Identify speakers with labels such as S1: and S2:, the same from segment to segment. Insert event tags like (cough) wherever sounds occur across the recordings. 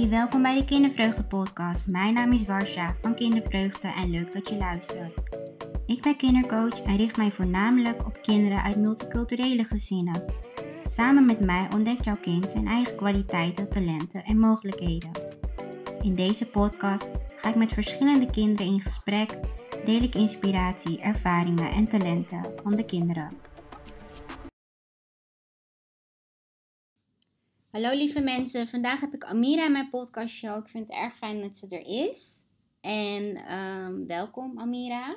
S1: de Kindervreugde Podcast. Mijn naam is Warsha van Kindervreugde en leuk dat je luistert. Ik ben kindercoach en richt mij voornamelijk op kinderen uit multiculturele gezinnen. Samen met mij ontdekt jouw kind zijn eigen kwaliteiten, talenten en mogelijkheden. In deze podcast ga ik met verschillende kinderen in gesprek, deel ik inspiratie, ervaringen en talenten van de kinderen. Hallo lieve mensen, vandaag heb ik Amira in mijn podcastshow. Ik vind het erg fijn dat ze er is. En ehm, welkom Amira.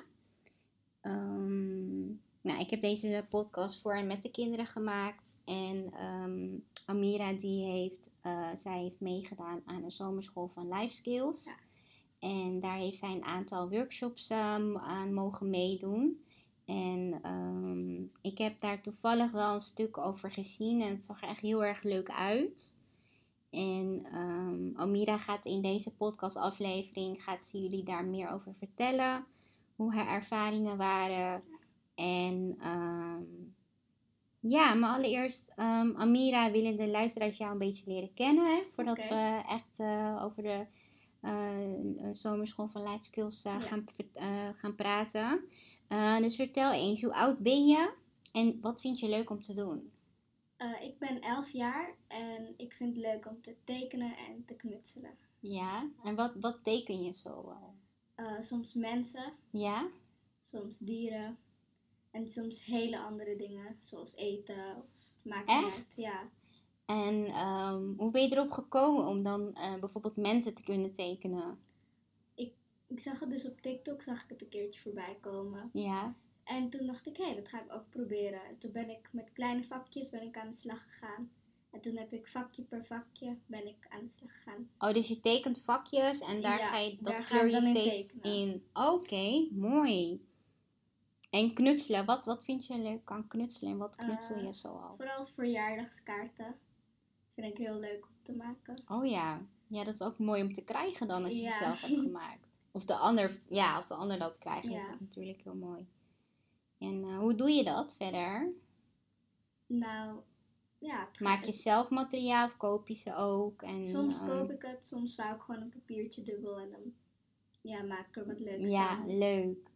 S1: Ehm, nou, ik heb deze podcast voor en met de kinderen gemaakt. En ehm, Amira die heeft, eh, zij heeft meegedaan aan een zomerschool van Life Skills. En daar heeft zij een aantal workshops ehm, aan mogen meedoen. En ehm, ik heb daar toevallig wel een stuk over gezien en het zag er echt heel erg leuk uit. En ehm, Amira gaat in deze podcastaflevering, gaat ze jullie daar meer over vertellen. Hoe haar ervaringen waren. En ehm, ja, maar allereerst, ehm, Amira, willen de luisteraars jou een beetje leren kennen. Hè, voordat
S2: Oké.
S1: we echt eh, over de eh, zomerschool van Life Skills eh,
S2: Ja.
S1: gaan, ver- eh, gaan praten. Eh, dus vertel eens, hoe oud ben je en wat vind je leuk om te doen?
S2: Eh, ik ben 11 jaar en ik vind het leuk om te tekenen en te knutselen.
S1: Ja, en wat, wat teken je zo? eh?
S2: Eh, soms mensen,
S1: ja?
S2: soms dieren en soms hele andere dingen, zoals eten. Of maakt niet
S1: Echt?
S2: uit. Ja.
S1: En ehm, hoe ben je erop gekomen om dan eh, bijvoorbeeld mensen te kunnen tekenen?
S2: Ik zag het dus op TikTok, zag ik het een keertje voorbij komen.
S1: Ja,
S2: En toen dacht ik, hé, dat ga ik ook proberen. En toen ben ik met kleine vakjes ben ik aan de slag gegaan. En toen heb ik vakje per vakje ben ik aan de slag gegaan.
S1: oh, dus je tekent vakjes en daar
S2: Ja,
S1: ga je, dat
S2: daar ga
S1: kleur
S2: ik
S1: je
S2: dan in
S1: steeds
S2: tekenen.
S1: in. Oké, mooi. En knutselen, wat, wat vind je leuk aan knutselen en wat knutsel je
S2: Eh,
S1: zo al?
S2: Vooral verjaardagskaarten vind ik heel leuk om te maken.
S1: Oh ja. Ja, dat is ook mooi om te krijgen dan als je
S2: Ja.
S1: het zelf
S2: (laughs)
S1: hebt gemaakt. Of de ander, ja, als de ander dat krijgt, is
S2: Ja.
S1: dat natuurlijk heel mooi. En eh, hoe doe je dat verder?
S2: Nou, ja. het
S1: Maak
S2: gaat-
S1: je zelf materiaal of koop je ze ook? En,
S2: Soms
S1: ehm,
S2: koop ik het, soms wou ik gewoon een papiertje dubbel en dan ja, maak ik er wat leuks
S1: Ja,
S2: van.
S1: leuk.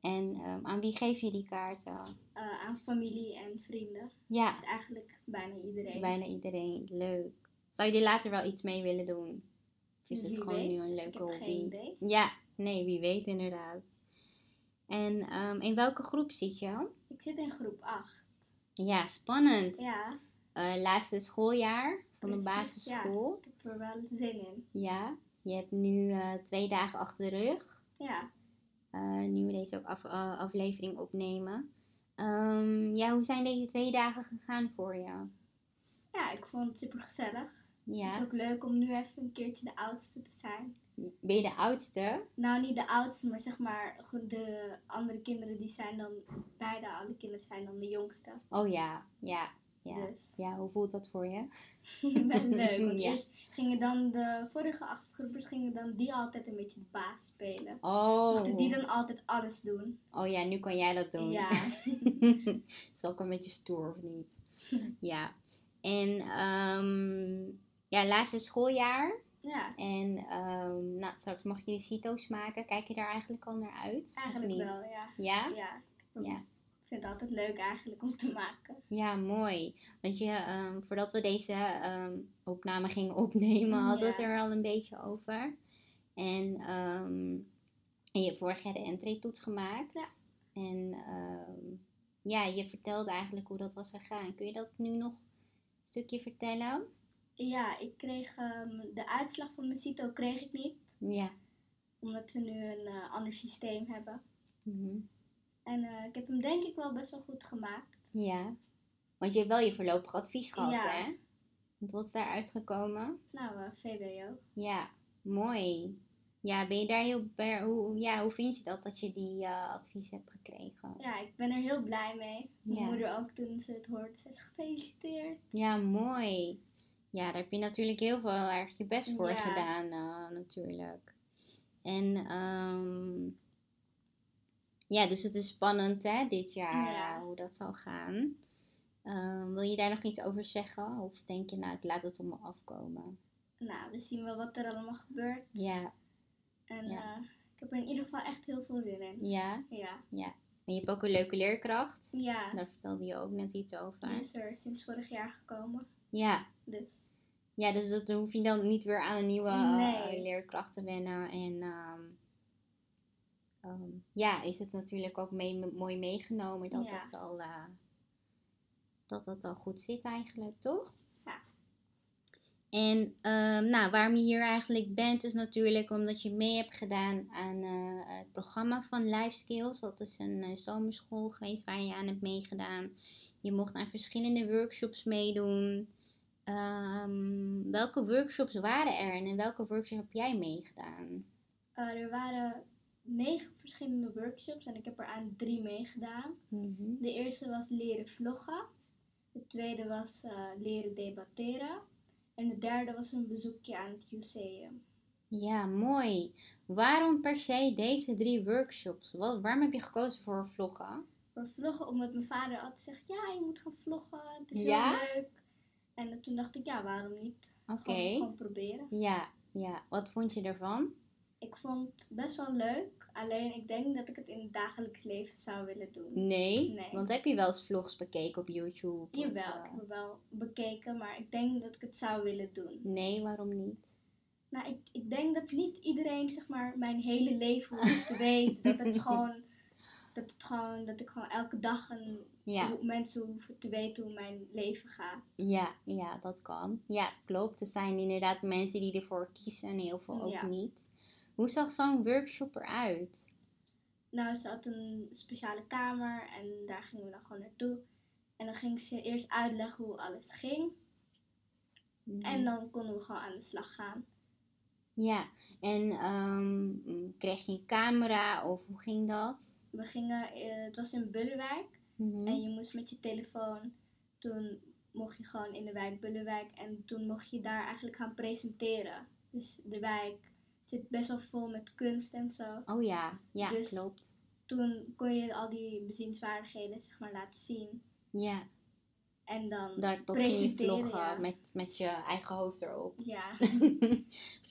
S1: En ehm, aan wie geef je die kaarten?
S2: Eh, aan familie en vrienden.
S1: Ja,
S2: Dus eigenlijk bijna iedereen.
S1: bijna iedereen. Leuk. Zou je er later wel iets mee willen doen? Of is het
S2: Dus Wie
S1: gewoon nu
S2: weet,
S1: een
S2: ik
S1: leuke
S2: heb
S1: hobby?
S2: geen idee.
S1: Ja, nee, wie weet inderdaad. En ehm, in welke groep zit je?
S2: Ik zit in groep 8.
S1: Ja, spannend.
S2: Ja,
S1: Eh, laatste schooljaar van de
S2: Precies,
S1: basisschool.
S2: ik heb er wel zin in.
S1: Ja. Je hebt nu eh, twee dagen achter de rug.
S2: Ja,
S1: eh, nu we deze ook af- eh, aflevering opnemen. Ehm, ja, hoe zijn deze twee dagen gegaan voor je?
S2: ja ik vond het super gezellig. Het
S1: Ja.
S2: is ook leuk om nu even een keertje de oudste te zijn.
S1: Ben je de oudste?
S2: Nou, niet de oudste, maar zeg maar gewoon de andere kinderen die zijn dan, beide alle kinderen zijn dan de jongste.
S1: Oh ja, ja, ja.
S2: Dus
S1: Ja, hoe voelt dat voor je?
S2: (laughs) Wel leuk, want
S1: Ja.
S2: eerst eh, gingen dan de vorige achtgroepers gingen dan die altijd een beetje de baas spelen. Mochten
S1: Oh.
S2: die dan altijd alles doen.
S1: oh ja, nu kan jij dat doen. (laughs)
S2: Ja,
S1: Het is ook een beetje stoer, of
S2: (laughs)
S1: niet? Ja. En ehm, ja, laatste schooljaar.
S2: ja
S1: En ehm, nou, straks mag je de CITO's maken. Kijk je daar eigenlijk al naar uit? Of
S2: eigenlijk
S1: niet?
S2: wel, ja.
S1: Ja?
S2: ja.
S1: Ja.
S2: Ik vind het altijd leuk eigenlijk om te maken.
S1: Ja, mooi. Want je, ehm, voordat we deze ehm, opname gingen opnemen, hadden we het
S2: Ja.
S1: er al een beetje over. En, ehm, en je hebt vorig jaar de entree-toets gemaakt.
S2: Ja.
S1: En ehm, ja, je vertelde eigenlijk hoe dat was gegaan. Kun je dat nu nog een stukje vertellen?
S2: Ja, ik kreeg ehm, de uitslag van mijn CITO kreeg ik niet,
S1: Ja.
S2: omdat we nu een eh, ander systeem hebben.
S1: Mhm.
S2: En eh, ik heb hem denk ik wel best wel goed gemaakt.
S1: Ja. Want je hebt wel je voorlopig advies gehad,
S2: Ja.
S1: hè? Want wat is daaruit gekomen?
S2: Nou, eh, VWO.
S1: Ja, mooi. Ja, ben je daar heel... ber- Hoe, ja, hoe vind je dat, dat je die eh, advies hebt gekregen?
S2: Ja, ik ben er heel blij mee. Mijn
S1: Ja.
S2: moeder ook toen ze het hoorde, ze is gefeliciteerd.
S1: Ja, mooi. Ja, daar heb je natuurlijk heel veel erg je best voor
S2: Ja.
S1: gedaan, eh, natuurlijk. En, ehm, ja, dus het is spannend, hè, dit jaar,
S2: Ja.
S1: eh, hoe dat zal gaan. Ehm, wil je daar nog iets over zeggen? Of denk je, nou, ik laat het op me afkomen?
S2: nou, we zien wel wat er allemaal gebeurt.
S1: Ja,
S2: En
S1: Ja.
S2: eh, ik heb er in ieder geval echt heel veel zin in.
S1: ja.
S2: Ja,
S1: En je hebt ook een leuke leerkracht.
S2: ja.
S1: Daar vertelde je ook net iets
S2: Die
S1: over.
S2: is er sinds vorig jaar gekomen.
S1: Ja,
S2: Dus
S1: ja dus dat dan hoef je dan niet weer aan een nieuwe eh,
S2: Nee.
S1: leerkracht te wennen. En ehm, ehm, ja, is het natuurlijk ook mee, mooi meegenomen dat,
S2: Ja.
S1: dat, al, eh, dat dat al goed zit eigenlijk, toch?
S2: ja,
S1: En ehm, nou, waarom je hier eigenlijk bent, is natuurlijk omdat je mee hebt gedaan aan eh, het programma van Life Skills. Dat is een eh, zomerschool geweest waar je aan hebt meegedaan. Je mocht aan verschillende workshops meedoen. Ehm, welke workshops waren er en in welke workshop heb jij meegedaan?
S2: eh, er waren negen verschillende workshops en ik heb er aan drie meegedaan. De eerste was leren vloggen. De tweede was eh, leren debatteren. En de derde was een bezoekje aan het museum.
S1: Ja, mooi. Waarom per se deze drie workshops? Wat, waarom heb je gekozen voor vloggen?
S2: Voor vloggen, omdat mijn vader altijd zegt, ja, je moet gaan vloggen. Het is
S1: Ja?
S2: heel leuk. En toen dacht ik, ja, waarom niet?
S1: Oké.
S2: Gewoon, gewoon proberen.
S1: Ja, ja. Wat vond je ervan?
S2: Ik vond het best wel leuk. Alleen ik denk dat ik het in het dagelijks leven zou willen doen.
S1: Nee?
S2: Nee.
S1: Want heb je wel eens vlogs bekeken op YouTube? of,
S2: Jawel, ik
S1: eh,
S2: heb er wel bekeken, maar ik denk dat ik het zou willen doen.
S1: nee, waarom niet?
S2: Nou, ik, ik denk dat niet iedereen, zeg maar, mijn hele leven hoeft
S1: (laughs)
S2: te weten. Dat het gewoon, dat het gewoon, dat ik gewoon elke dag een,
S1: Ja,
S2: hoe- mensen hoeven te weten hoe mijn leven gaat.
S1: ja, ja, dat kan. Ja, klopt. Er zijn inderdaad mensen die ervoor kiezen en heel veel ook
S2: Ja.
S1: niet. Hoe zag zo'n workshop eruit?
S2: Nou, ze had een speciale kamer en daar gingen we dan gewoon naartoe. En dan ging ze eerst uitleggen hoe alles ging.
S1: Mhm.
S2: En dan konden we gewoon aan de slag gaan.
S1: Ja, en ehm, kreeg je een camera of hoe ging dat?
S2: We gingen, eh, het was in Bullenwijk.
S1: Mhm.
S2: En je moest met je telefoon, toen mocht je gewoon in de wijk Bullenwijk en toen mocht je daar eigenlijk gaan presenteren. Dus de wijk zit best wel vol met kunst en zo.
S1: Oh ja, ja,
S2: Dus-
S1: klopt.
S2: Toen kon je al die bezienswaardigheden zeg maar laten zien.
S1: Ja,
S2: En dan,
S1: daar, dat ging je
S2: Presenteren,
S1: vloggen
S2: ja.
S1: met, met je eigen hoofd erop. (laughs)
S2: ja,
S1: Ging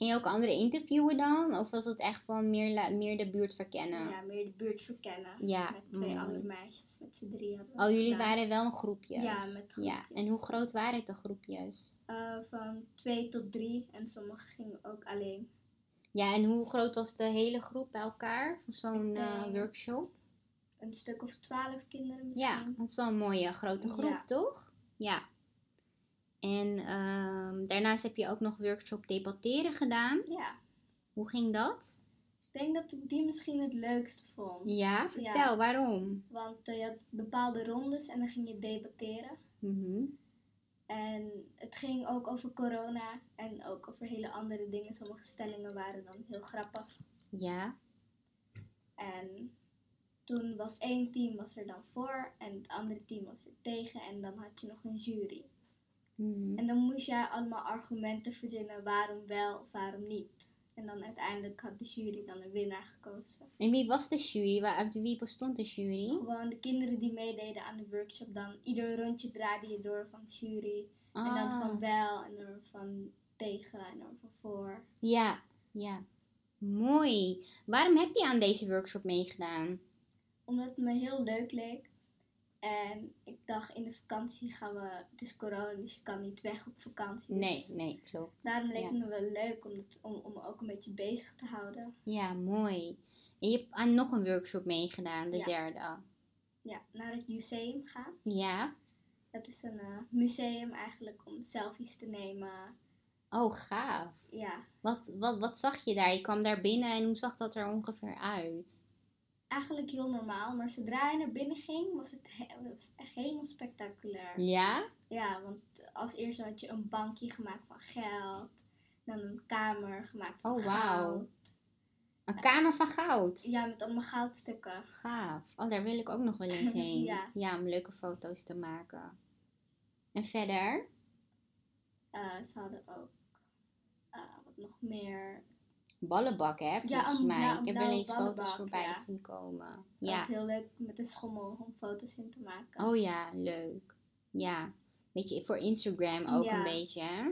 S1: je ook anderen interviewen dan? Of was het echt van meer, la- meer de buurt verkennen?
S2: ja, meer de buurt verkennen.
S1: Nou. Ja,
S2: met twee
S1: mooi.
S2: andere meisjes, met z'n drieën. hebben we
S1: Oh,
S2: het
S1: jullie
S2: gedaan.
S1: waren wel een groepjes?
S2: Ja, met
S1: Ja.
S2: groepjes.
S1: En hoe groot waren het de groepjes?
S2: Eh, van twee tot drie en sommigen gingen ook alleen.
S1: Ja, en hoe groot was de hele groep bij elkaar voor zo'n
S2: Ik
S1: eh,
S2: denk-
S1: workshop?
S2: Een stuk of twaalf kinderen
S1: Ja,
S2: misschien.
S1: dat is wel een mooie grote groep,
S2: Ja.
S1: toch? Ja. En ehm, daarnaast heb je ook nog workshop debatteren gedaan.
S2: ja.
S1: Hoe ging dat?
S2: Ik denk dat ik die misschien het leukste vond.
S1: Ja, vertel, waarom?
S2: Want eh, je had bepaalde rondes en dan ging je debatteren.
S1: Mhm.
S2: En het ging ook over corona en ook over hele andere dingen. Sommige stellingen waren dan heel grappig.
S1: Ja,
S2: En toen was één team was er dan voor en het andere team was er tegen. En dan had je nog een jury.
S1: Mhm.
S2: En dan moest jij allemaal argumenten verzinnen waarom wel of waarom niet. En dan uiteindelijk had de jury dan een winnaar gekozen.
S1: En wie was de jury? Waar, uit wie bestond de jury?
S2: Gewoon de kinderen die meededen aan de workshop dan. Ieder rondje draaide je door van de jury. En dan
S1: Ah.
S2: van wel en dan van tegen en dan van voor.
S1: Ja, ja. Mooi. Waarom heb je aan deze workshop meegedaan?
S2: Omdat het me heel leuk leek. En ik dacht in de vakantie gaan we. Het is corona, dus je kan niet weg op vakantie.
S1: Nee,
S2: Dus
S1: nee, klopt.
S2: daarom leek
S1: ja.
S2: het me wel leuk om, het, om, om me ook een beetje bezig te houden.
S1: Ja, mooi. En je hebt aan nog een workshop meegedaan, de
S2: Ja.
S1: derde.
S2: Ja, naar het museum gaan.
S1: Ja.
S2: Dat is een eh, museum eigenlijk om selfies te nemen.
S1: Oh, gaaf.
S2: Ja,
S1: Wat, wat, wat zag je daar? Je kwam daar binnen en hoe zag dat er ongeveer uit?
S2: eigenlijk heel normaal. Maar zodra je naar binnen ging, was het, he- was het echt helemaal spectaculair.
S1: Ja?
S2: Ja, want als eerst had je een bankje gemaakt van geld. Dan een kamer gemaakt van
S1: Oh, wauw.
S2: goud.
S1: Een kamer van goud.
S2: Ja, met allemaal goudstukken.
S1: Gaaf. Oh, daar wil ik ook nog wel
S2: (laughs)
S1: eens heen.
S2: Ja.
S1: om leuke foto's te maken. En verder?
S2: Eh, ze hadden ook eh, wat nog meer.
S1: Ballenbak, hè, volgens
S2: een
S1: mij.
S2: blau-
S1: ik heb wel
S2: blauwe
S1: eens foto's
S2: oh, nou, ballenbak,
S1: voorbij
S2: ja. Oh,
S1: zien komen. Ja.
S2: Ook heel leuk met een schommel om foto's in te maken.
S1: Oh ja, leuk. Ja. Beetje voor Instagram ook
S2: Ja.
S1: een beetje, hè?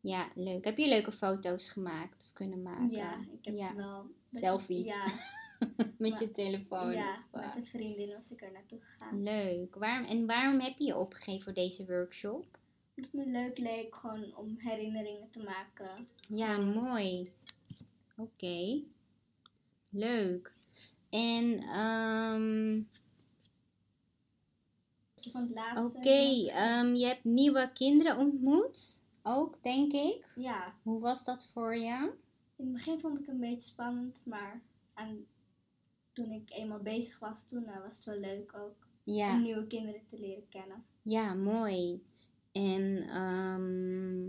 S1: Ja, leuk. Heb je leuke foto's gemaakt of kunnen maken?
S2: Ja, ik heb
S1: Ja.
S2: wel...
S1: Selfies. (laughs)
S2: Ja,
S1: met
S2: maar-
S1: je telefoon.
S2: ja,
S1: Wauw.
S2: met een vriendin was ik er naartoe gegaan.
S1: Leuk. Waarom, en waarom heb je je opgegeven voor deze workshop?
S2: Omdat het me leuk leek gewoon om herinneringen te maken.
S1: Ja, mooi. Oké. Leuk. En ehm,
S2: Van het
S1: oké,
S2: laatste...
S1: ehm, je hebt nieuwe kinderen ontmoet. Ook, denk ik.
S2: Ja,
S1: Hoe was dat voor je?
S2: In het begin vond ik het een beetje spannend, maar aan, toen ik eenmaal bezig was, toen eh, was het wel leuk ook om
S1: Ja,
S2: nieuwe kinderen te leren kennen.
S1: ja mooi. En ehm,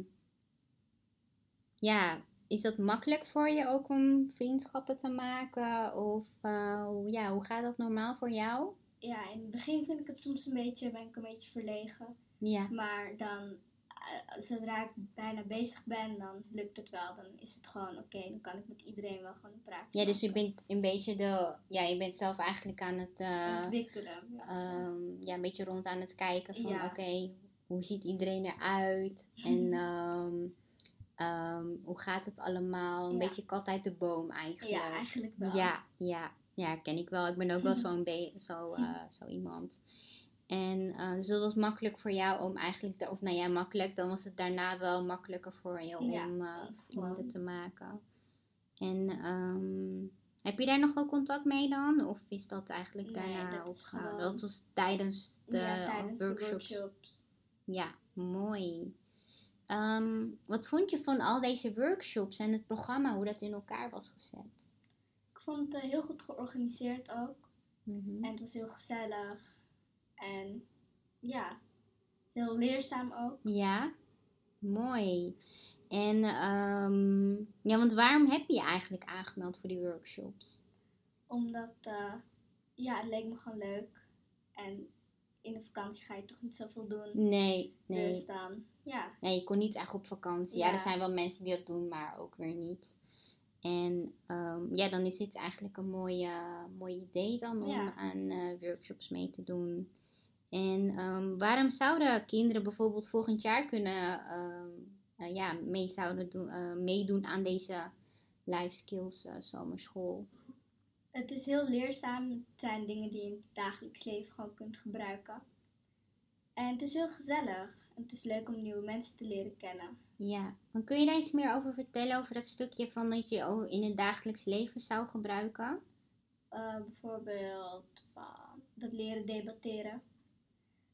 S1: ja, is dat makkelijk voor je ook om vriendschappen te maken? Of eh, hoe- ja, hoe gaat dat normaal voor jou?
S2: Ja, in het begin vind ik het soms een beetje, ben ik een beetje verlegen,
S1: Ja,
S2: maar dan, eh, zodra ik bijna bezig ben, dan lukt het wel. Dan is het gewoon oké, dan kan ik met iedereen wel gewoon een praatje
S1: ja dus je
S2: maken.
S1: bent een beetje de. Ja, je bent zelf eigenlijk aan het. eh,
S2: ontwikkelen. ja.
S1: ehm, ja, een beetje rond aan het kijken van
S2: Ja. Mhm.
S1: oké, hoe ziet iedereen eruit? En ehm, ehm, hoe gaat het allemaal? Een
S2: Ja.
S1: beetje kat uit de boom eigenlijk.
S2: ja, eigenlijk wel. Mhm.
S1: Ja, ja, ja, ken ik wel. Ik ben ook wel zo'n be- zo, eh, zo iemand. En eh, dus dat was makkelijk voor jou om eigenlijk, da- of nou ja, makkelijk, dan was het daarna wel makkelijker voor je om
S2: Ja,
S1: eh, vrienden
S2: gewoon.
S1: te maken. En ehm, heb je daar nog wel contact mee dan? Of is dat eigenlijk
S2: Nee,
S1: daarna
S2: dat is
S1: opgehouden?
S2: gewoon-
S1: Dat was tijdens de
S2: Ja, tijdens
S1: eh, workshops.
S2: de workshops.
S1: Ja, mooi. Ehm, wat vond je van al deze workshops en het programma, hoe dat in elkaar was gezet?
S2: Ik vond het eh, heel goed georganiseerd ook.
S1: Mhm.
S2: En het was heel gezellig. En ja, heel leerzaam ook.
S1: Ja, mooi. En ehm, ja, want waarom heb je je eigenlijk aangemeld voor die workshops?
S2: Omdat, eh, ja, het leek me gewoon leuk. En in de vakantie ga je toch niet zoveel doen.
S1: Nee, nee.
S2: Dus dan, ja.
S1: Nee, je kon niet echt op vakantie. Ja,
S2: Ja.
S1: er zijn wel mensen die dat doen, maar ook weer niet. En ehm, ja, dan is dit eigenlijk een mooie, mooi idee dan om
S2: Ja.
S1: aan eh, workshops mee te doen. En ehm, waarom zouden kinderen bijvoorbeeld volgend jaar kunnen ehm, eh, ja, mee zouden doen, eh, meedoen aan deze life skills eh, zomerschool?
S2: Het is heel leerzaam. Het zijn dingen die je in het dagelijks leven gewoon kunt gebruiken. En het is heel gezellig. En het is leuk om nieuwe mensen te leren kennen.
S1: Ja, dan kun je daar iets meer over vertellen, over dat stukje van dat je ook in het dagelijks leven zou gebruiken?
S2: Eh, bijvoorbeeld van dat leren debatteren.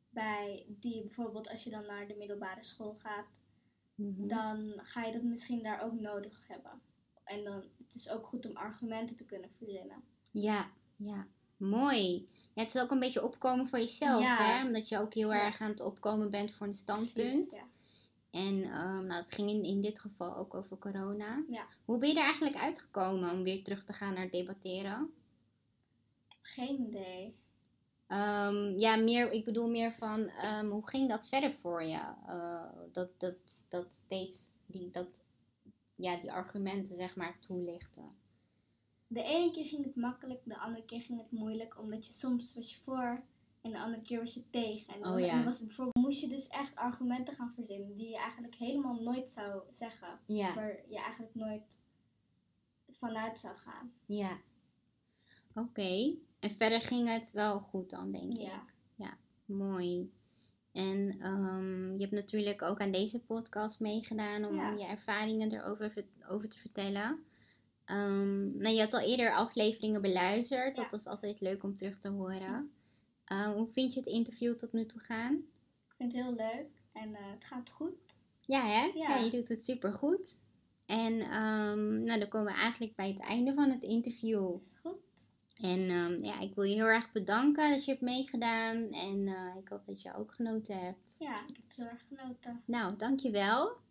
S2: Bij die bijvoorbeeld als je dan naar de middelbare school gaat.
S1: Mhm.
S2: dan ga je dat misschien daar ook nodig hebben. En dan, het is ook goed om argumenten te kunnen verzinnen.
S1: Ja, ja, mooi. Ja, het is ook een beetje opkomen voor jezelf,
S2: Ja.
S1: hè? Omdat je ook heel
S2: Ja.
S1: erg aan het opkomen bent voor een standpunt.
S2: Precies, ja.
S1: En ehm, nou, het ging in, in dit geval ook over corona.
S2: Ja.
S1: Hoe ben je er eigenlijk uitgekomen om weer terug te gaan naar debatteren?
S2: Geen idee.
S1: Ehm, ja, meer, ik bedoel meer van ehm, hoe ging dat verder voor je? Eh, dat, dat, dat steeds die, dat, ja, die argumenten, zeg maar, toelichten.
S2: De ene keer ging het makkelijk, de andere keer ging het moeilijk, omdat je soms was je voor en de andere keer was je tegen. En dan
S1: Oh, ja.
S2: en was het bijvoorbeeld, moest je dus echt argumenten gaan verzinnen die je eigenlijk helemaal nooit zou zeggen,
S1: Ja.
S2: waar je eigenlijk nooit vanuit zou gaan.
S1: Ja. Oké. En verder ging het wel goed dan, denk
S2: Ja.
S1: ik. Ja, mooi. En ehm, je hebt natuurlijk ook aan deze podcast meegedaan om
S2: Ja.
S1: je ervaringen erover ver- over te vertellen. Ehm, nou, je had al eerder afleveringen beluisterd.
S2: Ja.
S1: Dat was altijd leuk om terug te horen. Ehm, hoe vind je het interview tot nu toe gaan?
S2: Ik vind het heel leuk en eh, het gaat goed.
S1: Ja, hè? Ja.
S2: Ja.
S1: je doet het supergoed. En ehm, nou, dan komen we eigenlijk bij het einde van het interview.
S2: Is goed.
S1: En ehm, ja, ik wil je heel erg bedanken dat je hebt meegedaan. En eh, ik hoop dat je ook genoten hebt.
S2: Ja, ik heb heel erg genoten.
S1: Nou, dankjewel.